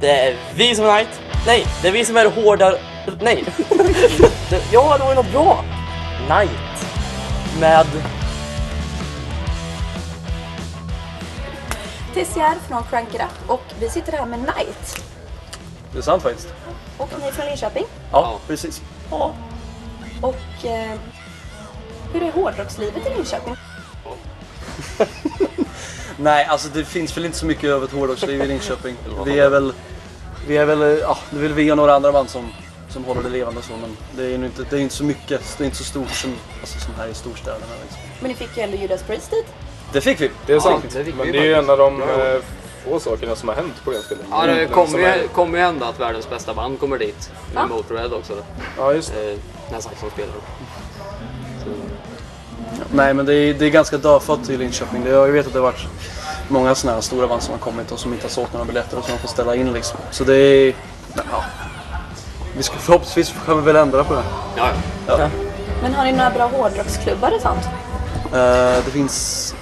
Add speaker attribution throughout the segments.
Speaker 1: Det är vi som är night. Nej, det är vi som är hårda... Nej. Det- ja, det var ju något bra. Night. Med...
Speaker 2: TCR från Frank Grapp och vi sitter här med Knight.
Speaker 3: Det är sant faktiskt.
Speaker 2: Och ni är från Linköping.
Speaker 3: Ja, precis. Ja.
Speaker 2: Och eh, hur är hårdrockslivet i Linköping?
Speaker 3: Nej, alltså det finns väl inte så mycket över ett hårdrocksliv i Linköping. Vi är väl, vi är väl, eh, ja, det är väl vi och några andra band som, som håller det levande och så, men det är ju inte, det är inte så mycket, det är inte så stort som, alltså, som här i storstäderna. Liksom.
Speaker 2: Men ni fick ju ändå Judas Priest dit.
Speaker 3: Det fick vi.
Speaker 4: Det är
Speaker 3: Ja,
Speaker 4: sant.
Speaker 3: det fick vi.
Speaker 4: men det är ju en av de eh, få sakerna som har hänt på ganska länge. Mm.
Speaker 5: Ja, det
Speaker 4: Eller
Speaker 5: kommer
Speaker 4: som
Speaker 5: ju,
Speaker 4: är-
Speaker 5: kommer ju hända att världens bästa band kommer dit.
Speaker 2: Ja.
Speaker 5: Med Motörhead också.
Speaker 4: Ja, just det.
Speaker 5: Eh, när Saxon spelar. Så,
Speaker 3: Nej, men det är, det är ganska dödfött i Linköping. Det, jag vet att det har varit många sådana här stora band som har kommit och som inte har sålt några biljetter och som har fått ställa in liksom. Så det är, ja. Vi ska, förhoppningsvis kommer vi väl ändra på det.
Speaker 5: ja, ja.
Speaker 2: Men har ni några bra hårdrocksklubbar och sånt?
Speaker 3: Eh, det finns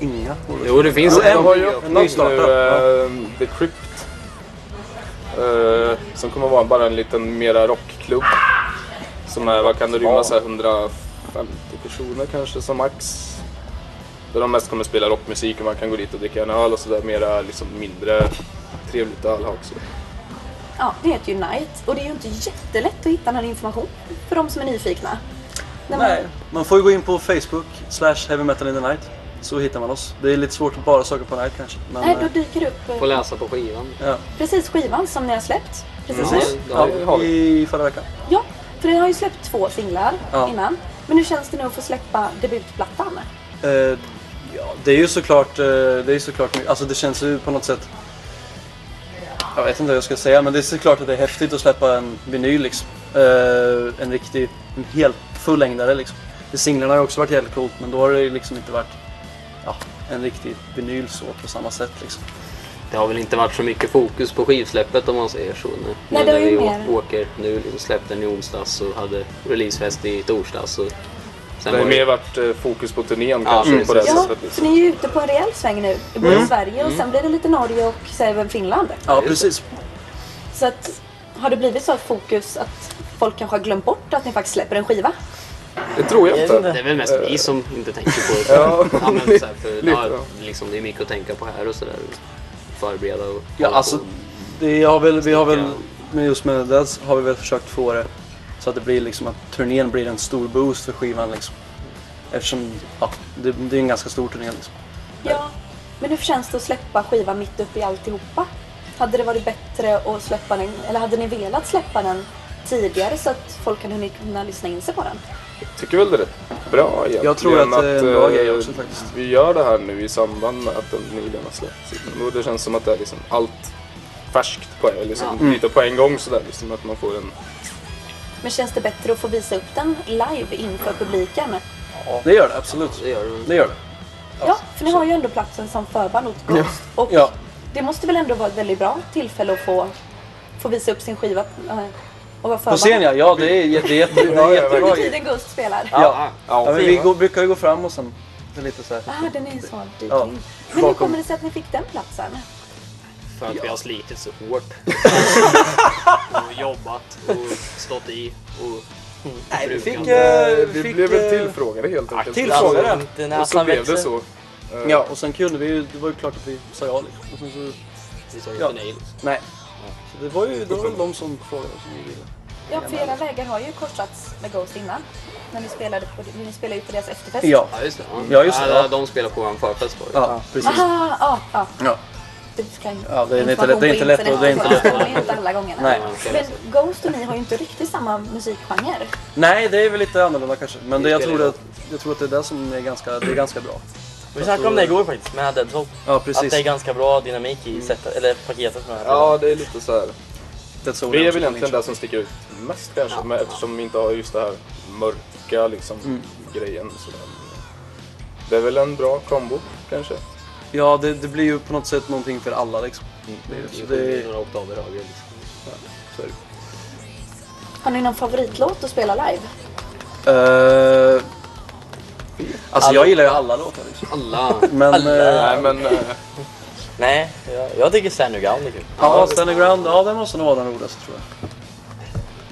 Speaker 3: inga hårdrocksklubbar.
Speaker 5: Jo, det finns
Speaker 3: en.
Speaker 4: De har ju
Speaker 3: en
Speaker 4: öppnat nu
Speaker 3: startare.
Speaker 4: eh, The Crypt. Eh, som kommer vara bara en liten mera rockklubb. Som är, vad kan det rymma, så här 150 personer kanske som max. Där de mest kommer spela rockmusik och man kan gå dit och dricka en öl och sådär mera liksom mindre trevligt öl också.
Speaker 2: Ja, det heter ju Knight. Och det är ju inte jättelätt att hitta någon information för de som är nyfikna. När man-
Speaker 3: Nej, man får ju gå in på Facebook, slash heavy metal in the night. Så hittar man oss. Det är lite svårt att bara söka på night kanske. Men,
Speaker 2: Nej, då
Speaker 3: eh,
Speaker 2: dyker det upp
Speaker 5: Får
Speaker 2: eh,
Speaker 5: läsa på skivan.
Speaker 3: ja,
Speaker 2: precis skivan som ni har släppt. Precis
Speaker 5: Ja,
Speaker 2: nu.
Speaker 5: det-
Speaker 3: ja,
Speaker 5: det-
Speaker 4: det har
Speaker 3: i förra veckan.
Speaker 2: Ja, för ni har ju släppt två singlar
Speaker 3: Ja.
Speaker 2: innan. Men hur känns det nu att få släppa debutplattan?
Speaker 3: Eh, ja, det är ju såklart, eh, det är såklart, my- alltså det känns ju på något sätt jag vet inte vad jag ska säga, men det är såklart att det är häftigt att släppa en vinyl liksom. Eh, en riktig, en hel fullängdare liksom. Det singlarna har ju också varit jävligt coolt, men då har det ju liksom inte varit ja, en riktig vinyl så på samma sätt liksom.
Speaker 5: Det har väl inte varit så mycket fokus på skivsläppet om man säger så. Nu.
Speaker 2: Nej, det
Speaker 5: när
Speaker 2: var ju
Speaker 5: vi
Speaker 2: mer-
Speaker 5: å- åker nu, vi släppte den i onsdags och hade releasefest i torsdags. Och sen
Speaker 4: Det har
Speaker 5: var
Speaker 4: mer varit eh, fokus på turnén kanske
Speaker 5: precis.
Speaker 4: på det
Speaker 2: Ja, Mm.
Speaker 4: sättet.
Speaker 2: för
Speaker 4: Liksom.
Speaker 2: ni är ju ute på en rejäl sväng nu. I både Sverige och sen blir det lite Norge och så även Finland.
Speaker 3: Ja, precis.
Speaker 2: Så att, har det blivit så att fokus att folk kanske har glömt bort att ni faktiskt släpper en skiva?
Speaker 4: Det tror jag inte.
Speaker 5: Det är väl mest vi som inte tänker på det.
Speaker 4: Ja.
Speaker 5: men så här, för,
Speaker 4: Lite,
Speaker 5: ja,
Speaker 4: ja.
Speaker 5: liksom, det är mycket att tänka på här och sådär. Förbereda och
Speaker 3: Ja,
Speaker 5: hålla på.
Speaker 3: alltså, det har väl, vi har väl, men just med det har vi väl försökt få det så att det blir liksom att turnén blir en stor boost för skivan liksom. Eftersom, ja, det, det är en ganska stor turné liksom.
Speaker 2: Ja. Men hur känns det att släppa skivan mitt uppe i alltihopa? Hade det varit bättre att släppa den, eller hade ni velat släppa den tidigare så att folk hade hunnit kunna lyssna in sig på den?
Speaker 4: tycker väl det är rätt bra egentligen.
Speaker 3: Jag tror att det är en bra
Speaker 4: eh,
Speaker 3: grej också, faktiskt.
Speaker 4: Vi gör det här nu i samband med att den nyligen har släppts. Och Det känns som att det är liksom allt färskt på, liksom, lite på en gång sådär. Liksom, att man får en...
Speaker 2: Men känns det bättre att få visa upp den live inför publiken?
Speaker 3: Det gör det absolut.
Speaker 5: Det gör det väl.
Speaker 3: Det gör det.
Speaker 2: Ja, för ni har ju ändå platsen som förband åt Ghost. Och
Speaker 3: Ja.
Speaker 2: det måste väl ändå vara ett väldigt bra tillfälle att få, få visa upp sin skiva eh, och vara
Speaker 3: På
Speaker 2: förband.
Speaker 3: scen ja, ja det är jätte, jätte, det är
Speaker 4: ja,
Speaker 3: jättebra
Speaker 2: Under
Speaker 3: grej.
Speaker 2: tiden Ghost spelar.
Speaker 3: Ja,
Speaker 4: Ja,
Speaker 3: ja men vi går, brukar ju gå fram och sen det är lite så här.
Speaker 2: Ah, den är ju så dyr.
Speaker 3: Ja.
Speaker 2: Men hur
Speaker 3: Bakom.
Speaker 2: kommer det sig att ni fick den platsen?
Speaker 5: För att vi har slitit så hårt. och jobbat och stått i. Och
Speaker 3: Nej, vi fick,
Speaker 4: Eh,
Speaker 3: eh,
Speaker 4: Vi
Speaker 3: fick,
Speaker 4: blev väl
Speaker 3: eh,
Speaker 4: tillfrågade helt enkelt.
Speaker 3: tillfrågade.
Speaker 4: Alltså,
Speaker 1: Den
Speaker 4: Och så
Speaker 1: näsan
Speaker 4: blev det
Speaker 1: växer.
Speaker 4: så. Eh,
Speaker 3: Ja, och sen kunde vi ju, det var ju klart att vi sa ja liksom. Och sen så,
Speaker 5: vi sa ju
Speaker 3: Ja.
Speaker 5: nej.
Speaker 3: nej. Så det var ju, det var väl de som frågade oss om vi ville.
Speaker 2: Ja, för era vägar har ju korsats med Ghost innan. När ni spelade, på, ni spelade ju på deras efterfest.
Speaker 3: Ja,
Speaker 5: Ja, just det.
Speaker 3: Ja, just det, ja.
Speaker 5: De spelar på vår förfest var det.
Speaker 3: ja precis.
Speaker 2: Ah, ah, ah.
Speaker 3: Ja.
Speaker 2: Det, kan,
Speaker 3: Ja, det är inte
Speaker 2: information
Speaker 3: lätt- det är
Speaker 2: på
Speaker 3: inte lätt
Speaker 2: internet,
Speaker 3: och det är inte
Speaker 2: så Det står ju inte alla gångerna.
Speaker 3: Nej.
Speaker 2: Men Ghost och ni har ju inte riktigt samma musikgenre.
Speaker 3: Nej, det är väl lite annorlunda kanske. Men det, jag,
Speaker 5: spelar
Speaker 3: tror
Speaker 5: ju
Speaker 3: att, jag tror att det är det som är ganska, det är ganska bra.
Speaker 1: Vi snackade om det igår faktiskt, med Deadtop.
Speaker 3: Ja,
Speaker 1: Att det är
Speaker 3: precis.
Speaker 1: ganska bra dynamik i setet, eller paketet med den här skivan.
Speaker 4: Ja, det är lite så här.
Speaker 3: Det tror
Speaker 4: Det
Speaker 3: jag
Speaker 4: är
Speaker 3: också liksom-
Speaker 4: väl
Speaker 3: på
Speaker 4: egentligen
Speaker 3: Lynch.
Speaker 4: det som sticker ut mest kanske. Men eftersom vi inte har just det här mörka liksom,
Speaker 3: Mm.
Speaker 4: grejen. Så det är väl en bra kombo kanske.
Speaker 3: Ja, det, det blir ju på något sätt någonting för alla liksom. Det, är- så
Speaker 5: Det
Speaker 3: det,
Speaker 5: är några oktaver högre. Liksom.
Speaker 4: Så är det.
Speaker 2: Har ni någon favoritlåt att spela live?
Speaker 3: eh, alltså jag gillar ju alla låtar liksom.
Speaker 5: Alla.
Speaker 4: Mm.
Speaker 3: Men, eh,
Speaker 4: Nej men eh,
Speaker 1: Nej, jag, jag tycker Stand Your Ground är kul.
Speaker 3: Ja, Standing Ground, ja den måste nog vara den roligaste tror jag.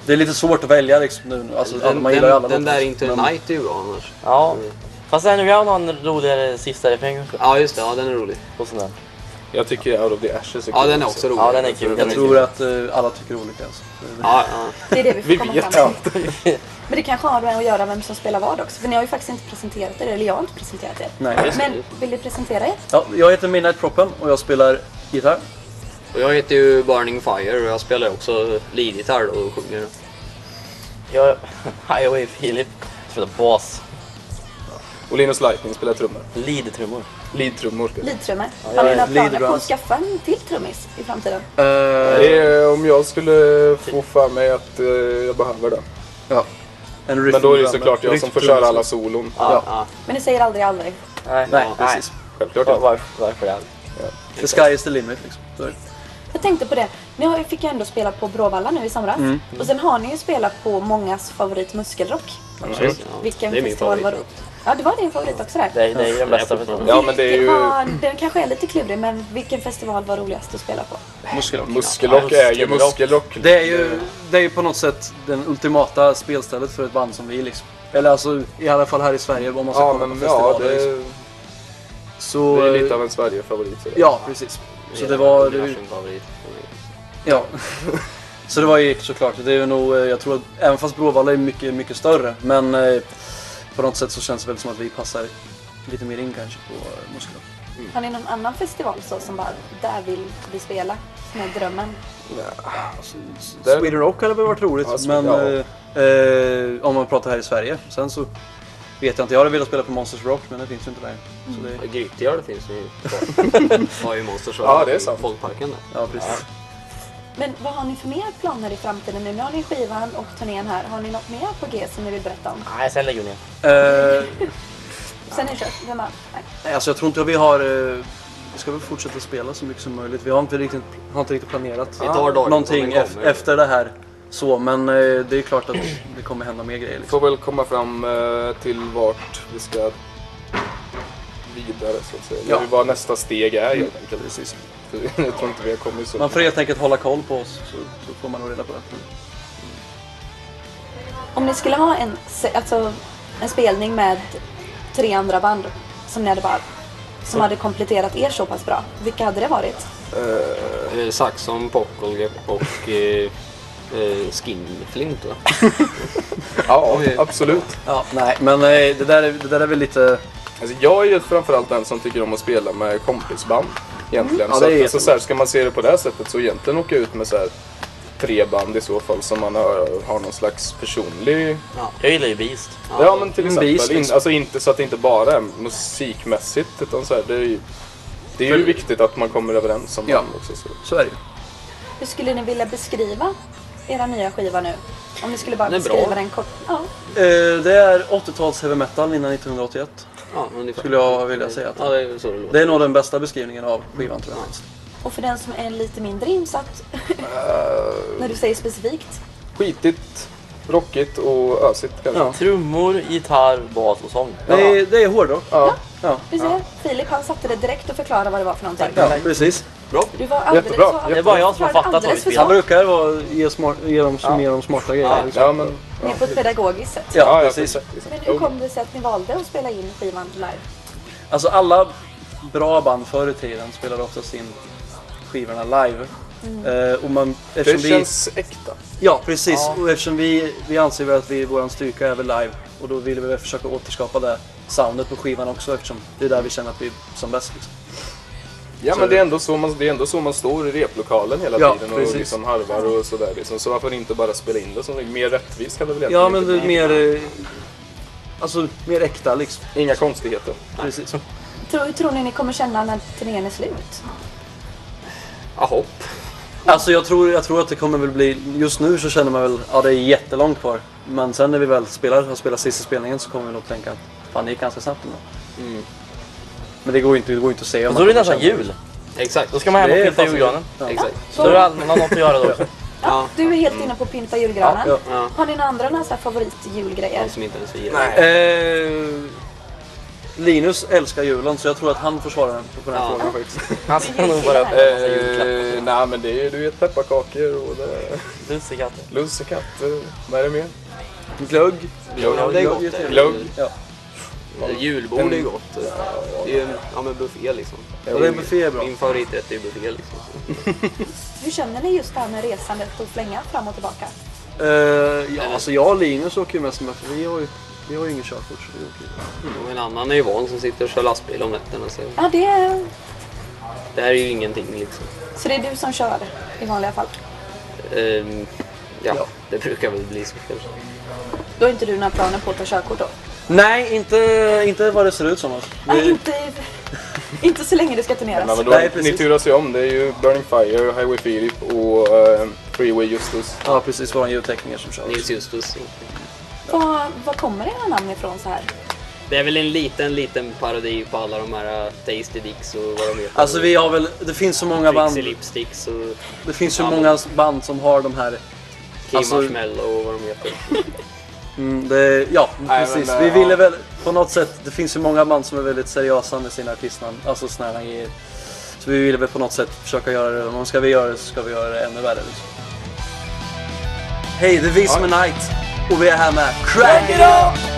Speaker 3: Det är lite svårt att välja liksom nu. Alltså,
Speaker 6: den,
Speaker 3: man gillar ju
Speaker 6: den,
Speaker 3: alla
Speaker 6: den
Speaker 3: låtar,
Speaker 6: där
Speaker 3: liksom,
Speaker 6: Into the
Speaker 3: men-
Speaker 6: Night är ju bra annars.
Speaker 1: Ja. Fast Stand Your Ground har en roligare sista refräng också.
Speaker 6: Ja just det, ja, den är rolig.
Speaker 1: Och sådär.
Speaker 4: Jag tycker Out of the Ashes är
Speaker 6: Ja
Speaker 4: kul
Speaker 6: den är också rolig.
Speaker 1: Ja, den är kul. Den
Speaker 3: Jag
Speaker 1: är
Speaker 3: tror
Speaker 1: kul.
Speaker 3: att eh, alla tycker olika alltså.
Speaker 6: Ja, ja.
Speaker 2: Det är det vi får
Speaker 4: Vi
Speaker 2: komma
Speaker 4: vet
Speaker 2: fram till. Men det kanske har med att göra vem som spelar vad också. För ni har ju faktiskt inte presenterat er, eller jag har inte presenterat er.
Speaker 3: Nej.
Speaker 2: Men vill ni presentera er?
Speaker 3: Ja, jag heter Midnight Proppen och jag spelar gitarr.
Speaker 6: Och jag heter ju Burning Fire och jag spelar också leadgitarr och sjunger.
Speaker 1: Jag, Highway Philip spelar bas.
Speaker 4: Och Linus Lightning spelar trummor.
Speaker 1: Lead-trummor.
Speaker 4: Lead-trummor spelar
Speaker 2: Leadtrummor. Har
Speaker 3: jag
Speaker 2: ni
Speaker 3: är
Speaker 2: några planer på att
Speaker 3: leadgrums.
Speaker 2: skaffa en till trummis i framtiden?
Speaker 3: Eh,
Speaker 4: Det är om jag skulle få för mig att eh, jag behöver det.
Speaker 3: Ja. En riff-
Speaker 4: Men då är det ju såklart jag som får
Speaker 3: riff-
Speaker 4: köra alla solon.
Speaker 3: Ja.
Speaker 2: Men ni säger aldrig aldrig.
Speaker 1: Nej,
Speaker 3: Nej, precis.
Speaker 4: Självklart
Speaker 1: Var-
Speaker 4: inte.
Speaker 1: Varför, varför det?
Speaker 3: The sky is the limit liksom. Så är det.
Speaker 2: Jag tänkte på det. Ni har ju- fick ju ändå spela på Bråvalla nu i somras. Och sen har ni ju spelat på mångas favorit Muskelrock.
Speaker 6: Absolut. Ja.
Speaker 2: Vilken
Speaker 6: Det är min
Speaker 2: festival var det?
Speaker 6: favorit.
Speaker 2: Ja, det var din favorit också där.
Speaker 1: Det är, det är ju den bästa festivalen.
Speaker 4: Ja men det är ju...
Speaker 2: Ja, den kanske är lite klurig, men vilken festival var roligast att spela på?
Speaker 3: Muskelrock.
Speaker 4: Muskelrock är ju
Speaker 1: Muskelrock.
Speaker 4: muskelrock.
Speaker 3: Det är, ju, det är ju på något sätt den ultimata spelstället för ett band som vi liksom. Eller alltså i alla fall här i Sverige om man ska
Speaker 4: Ja
Speaker 3: kolla
Speaker 4: men
Speaker 3: på
Speaker 4: ja,
Speaker 3: festivaler.
Speaker 4: det
Speaker 3: liksom.
Speaker 4: är,
Speaker 3: Så,
Speaker 4: det är lite av en Sverigefavorit. så det-
Speaker 3: Ja, precis. Så det var... Det,
Speaker 6: min favorit.
Speaker 3: ja. Så det var ju såklart. Det är ju nog, eh, jag tror att även fast Bråvalla är mycket, mycket större. Men eh, på något sätt så känns det väl som att vi passar lite mer in kanske på eh, Muskelrock.
Speaker 2: Har ni någon annan festival så som bara, där vill vi spela? Som är drömmen?
Speaker 4: Där-
Speaker 3: Sweden Rock hade väl varit roligt,
Speaker 4: Ja, Sweden-
Speaker 3: men eh, eh, om man pratar här i Sverige. Sen så vet jag inte. Jag hade velat spela på Monsters Rock, men det finns ju inte där. Så det,
Speaker 6: Mm. Grytgöl finns ju kvar. Har ju Monsters Rock
Speaker 4: Ja, det är
Speaker 6: i
Speaker 4: sant.
Speaker 6: Folkparken där.
Speaker 3: ja, precis.
Speaker 2: Men vad har ni för mer planer i framtiden nu? Nu har ni skivan och turnén här. Har ni något mer på G som ni vill berätta om?
Speaker 1: Nej, sen lägger vi ner.
Speaker 3: Eh,
Speaker 2: Sen är det kört. Vem har- nej.
Speaker 3: nej, alltså jag tror inte vi har... Eh, vi ska väl fortsätta spela så mycket som möjligt. Vi har inte riktigt, har inte riktigt planerat
Speaker 6: Vi tar dagen
Speaker 3: någonting
Speaker 6: som den
Speaker 3: ef-
Speaker 6: kommer.
Speaker 3: efter det här. Så, men eh, det är klart att det kommer hända mer grejer.
Speaker 4: Vi
Speaker 3: Liksom.
Speaker 4: får väl komma fram eh, till vart vi ska vidare så att säga.
Speaker 3: Ja.
Speaker 4: Eller Vad nästa steg är helt enkelt.
Speaker 3: Precis.
Speaker 4: Jag tror inte vi har kommit så
Speaker 3: Man får helt enkelt hålla koll på oss, så, så får man nog reda på det.
Speaker 2: Om ni skulle ha en, se- alltså, en spelning med tre andra band som ni hade bara som hade kompletterat er så pass bra. Vilka hade det varit?
Speaker 6: Eh, Saxon, Pockelgrip och eh, eh, Skinflint va?
Speaker 4: Ja, absolut.
Speaker 3: Ja, nej, men eh, det, där är, det där är väl lite...
Speaker 4: Alltså, jag är ju framförallt den som tycker om att spela med kompisband. Egentligen.
Speaker 3: Mm. Ja,
Speaker 4: så,
Speaker 3: det är
Speaker 4: att, alltså,
Speaker 3: jättebra.
Speaker 4: så här, ska man se det på det här sättet så egentligen åka ut med så här, tre band i så fall som man har, har någon slags personlig...
Speaker 1: Jag gillar ju Beast.
Speaker 4: Ja, men till exempel.
Speaker 3: beast,
Speaker 4: in,
Speaker 3: liksom.
Speaker 4: alltså inte så att det inte bara är musikmässigt utan så här, det är ju... Det är ju viktigt att man kommer överens om
Speaker 3: Ja.
Speaker 4: band också. Så.
Speaker 3: Så är det ju.
Speaker 2: Hur skulle ni vilja beskriva era nya skiva nu? Om ni skulle bara
Speaker 6: Den är bra.
Speaker 2: beskriva den kort. Ja.
Speaker 3: Eh, det är 80-tals heavy metal innan 1981.
Speaker 6: Ja, ungefär.
Speaker 3: Skulle jag vilja säga att-
Speaker 6: Ja, det är så det låter.
Speaker 3: Det är nog den bästa beskrivningen av skivan tror jag.
Speaker 2: Och för den som är lite mindre insatt, när du säger specifikt.
Speaker 4: Skitigt, rockigt och ösigt kanske.
Speaker 3: Ja.
Speaker 1: Trummor, gitarr, bas och sång.
Speaker 3: Det är, det är hårdrock.
Speaker 4: Ja.
Speaker 3: Ja,
Speaker 2: Du ser, Filip han satte det direkt och förklarade vad det var för någonting.
Speaker 3: ja precis.
Speaker 2: Du var alldeles
Speaker 4: Jättebra,
Speaker 2: så-
Speaker 1: Det är bara jag som har fattat vad vi
Speaker 2: Alldeles för
Speaker 1: spelar.
Speaker 3: Han
Speaker 2: svag.
Speaker 3: brukar vara, ge, smart, ge dem, ge dem smarta grejer. liksom.
Speaker 4: Ja, men,
Speaker 2: Mer på ett pedagogiskt sätt.
Speaker 3: Ja,
Speaker 4: ja,
Speaker 3: precis.
Speaker 2: Men hur kom det sig att ni valde att spela in skivan live?
Speaker 3: Alltså alla bra band förr i tiden spelade oftast in skivorna live. Eh, och man,
Speaker 4: Det
Speaker 3: eftersom
Speaker 4: känns äkta.
Speaker 3: vi, ja, precis. Och eftersom vi, vi anser väl att vi, vår styrka är väl live och då vill vi väl försöka återskapa det soundet på skivan också eftersom det är där vi känner att vi är som bäst. Liksom.
Speaker 4: Ja, men det är, ändå så man, det är ändå så man står i replokalen hela
Speaker 3: Ja,
Speaker 4: tiden och
Speaker 3: precis.
Speaker 4: liksom harvar och sådär. Liksom. Så varför inte bara spela in det som mer rättvist kan det väl
Speaker 3: Ja,
Speaker 4: egentligen
Speaker 3: men
Speaker 4: inte
Speaker 3: det är mer... eh, Alltså, mer äkta liksom.
Speaker 4: bli? Inga konstigheter.
Speaker 3: Precis.
Speaker 2: Tror, hur tror ni ni kommer känna när turnén är slut?
Speaker 6: Ja, hopp.
Speaker 3: Alltså jag tror, jag tror att det kommer väl bli... Just nu så känner man väl, ja det är jättelångt kvar. Men sen när vi väl spelar, har spelat sista spelningen så kommer vi nog tänka att fan det gick ganska snabbt ändå. Men det går ju inte, det går ju inte att säga. om
Speaker 1: Då är
Speaker 3: man
Speaker 1: det nästan
Speaker 3: kommer
Speaker 1: jul.
Speaker 6: Exakt.
Speaker 1: Då ska man hem och
Speaker 3: Det är
Speaker 1: pynta
Speaker 3: fan så
Speaker 1: julgranen.
Speaker 3: känna. Ja.
Speaker 6: Exakt.
Speaker 1: Så då har man något att göra då också.
Speaker 6: Ja,
Speaker 2: Du är helt inne på att pynta julgranen.
Speaker 3: Ja,
Speaker 6: ja.
Speaker 2: Har ni några andra några så här favoritjulgrejer?
Speaker 6: de som inte ens vi gillar.
Speaker 4: Nej.
Speaker 3: Eh, Linus älskar julen så jag tror att han försvarar den på den här
Speaker 6: Ja.
Speaker 3: frågan faktiskt.
Speaker 6: Han ska nog bara...
Speaker 4: Eh, nej men det är du vet pepparkakor och det är
Speaker 1: Lussekatter.
Speaker 4: lussekatter. Vad är det mer?
Speaker 3: Glögg.
Speaker 4: Glögg.
Speaker 3: Ja, det är gott.
Speaker 4: Glögg. Glögg.
Speaker 3: Ja.
Speaker 6: Eh, Julbord är ju gott. Det är ju en, ja men buffé liksom.
Speaker 3: Ja, det är buffé är bra.
Speaker 6: Min favoriträtt är ju buffé liksom. Så.
Speaker 2: Hur känner ni just det här med resandet och slänga fram och tillbaka?
Speaker 3: Eh, ja, alltså jag och Linus åker ju mest med för vi har ju, vi har ju ingen körkort. Så vi åker ju.
Speaker 6: Mm. Och en annan är ju van som sitter och kör lastbil om nätterna så
Speaker 2: Ja, det...
Speaker 6: det här är ju ingenting liksom.
Speaker 2: Så det är du som kör i vanliga fall?
Speaker 6: Ehm, ja, det brukar väl bli så kanske.
Speaker 2: Då har inte du några planer på att ta körkort då?
Speaker 3: Nej, inte, inte vad det ser ut som. Alltså.
Speaker 2: Nej,
Speaker 3: Vi,
Speaker 2: inte, inte så länge det ska
Speaker 4: Nej,
Speaker 2: turneras.
Speaker 4: men då,
Speaker 3: Nej, precis.
Speaker 4: ni turas ju om. Det är ju Burning Fire, Highway Philip och eh, Freeway Justus.
Speaker 3: ja, precis. Våran ljudtekniker som kör.
Speaker 6: Nils Justus.
Speaker 2: Var, var kommer era namn ifrån så här?
Speaker 6: Det är väl en liten, liten parodi på alla de här äh, Tasty Dicks och vad de heter.
Speaker 3: Alltså vi har väl, det finns så många band,
Speaker 6: Trixie Lipsticks och
Speaker 3: det finns så många band som har de här.
Speaker 6: Kim
Speaker 3: Alltså-
Speaker 6: Marshmallow och vad de heter.
Speaker 3: Mm, det, ja,
Speaker 4: Nej,
Speaker 3: precis.
Speaker 4: men,
Speaker 3: vi
Speaker 4: eh,
Speaker 3: ville
Speaker 4: ja.
Speaker 3: väl på något sätt, det finns ju många band som är väldigt seriösa med sina artistnamn, alltså såna här grejer. Så vi ville väl på något sätt försöka göra det, om ska vi göra det så ska vi göra det ännu värre. Liksom. Hej, det är vi som är Night och vi är här med Crack It Up!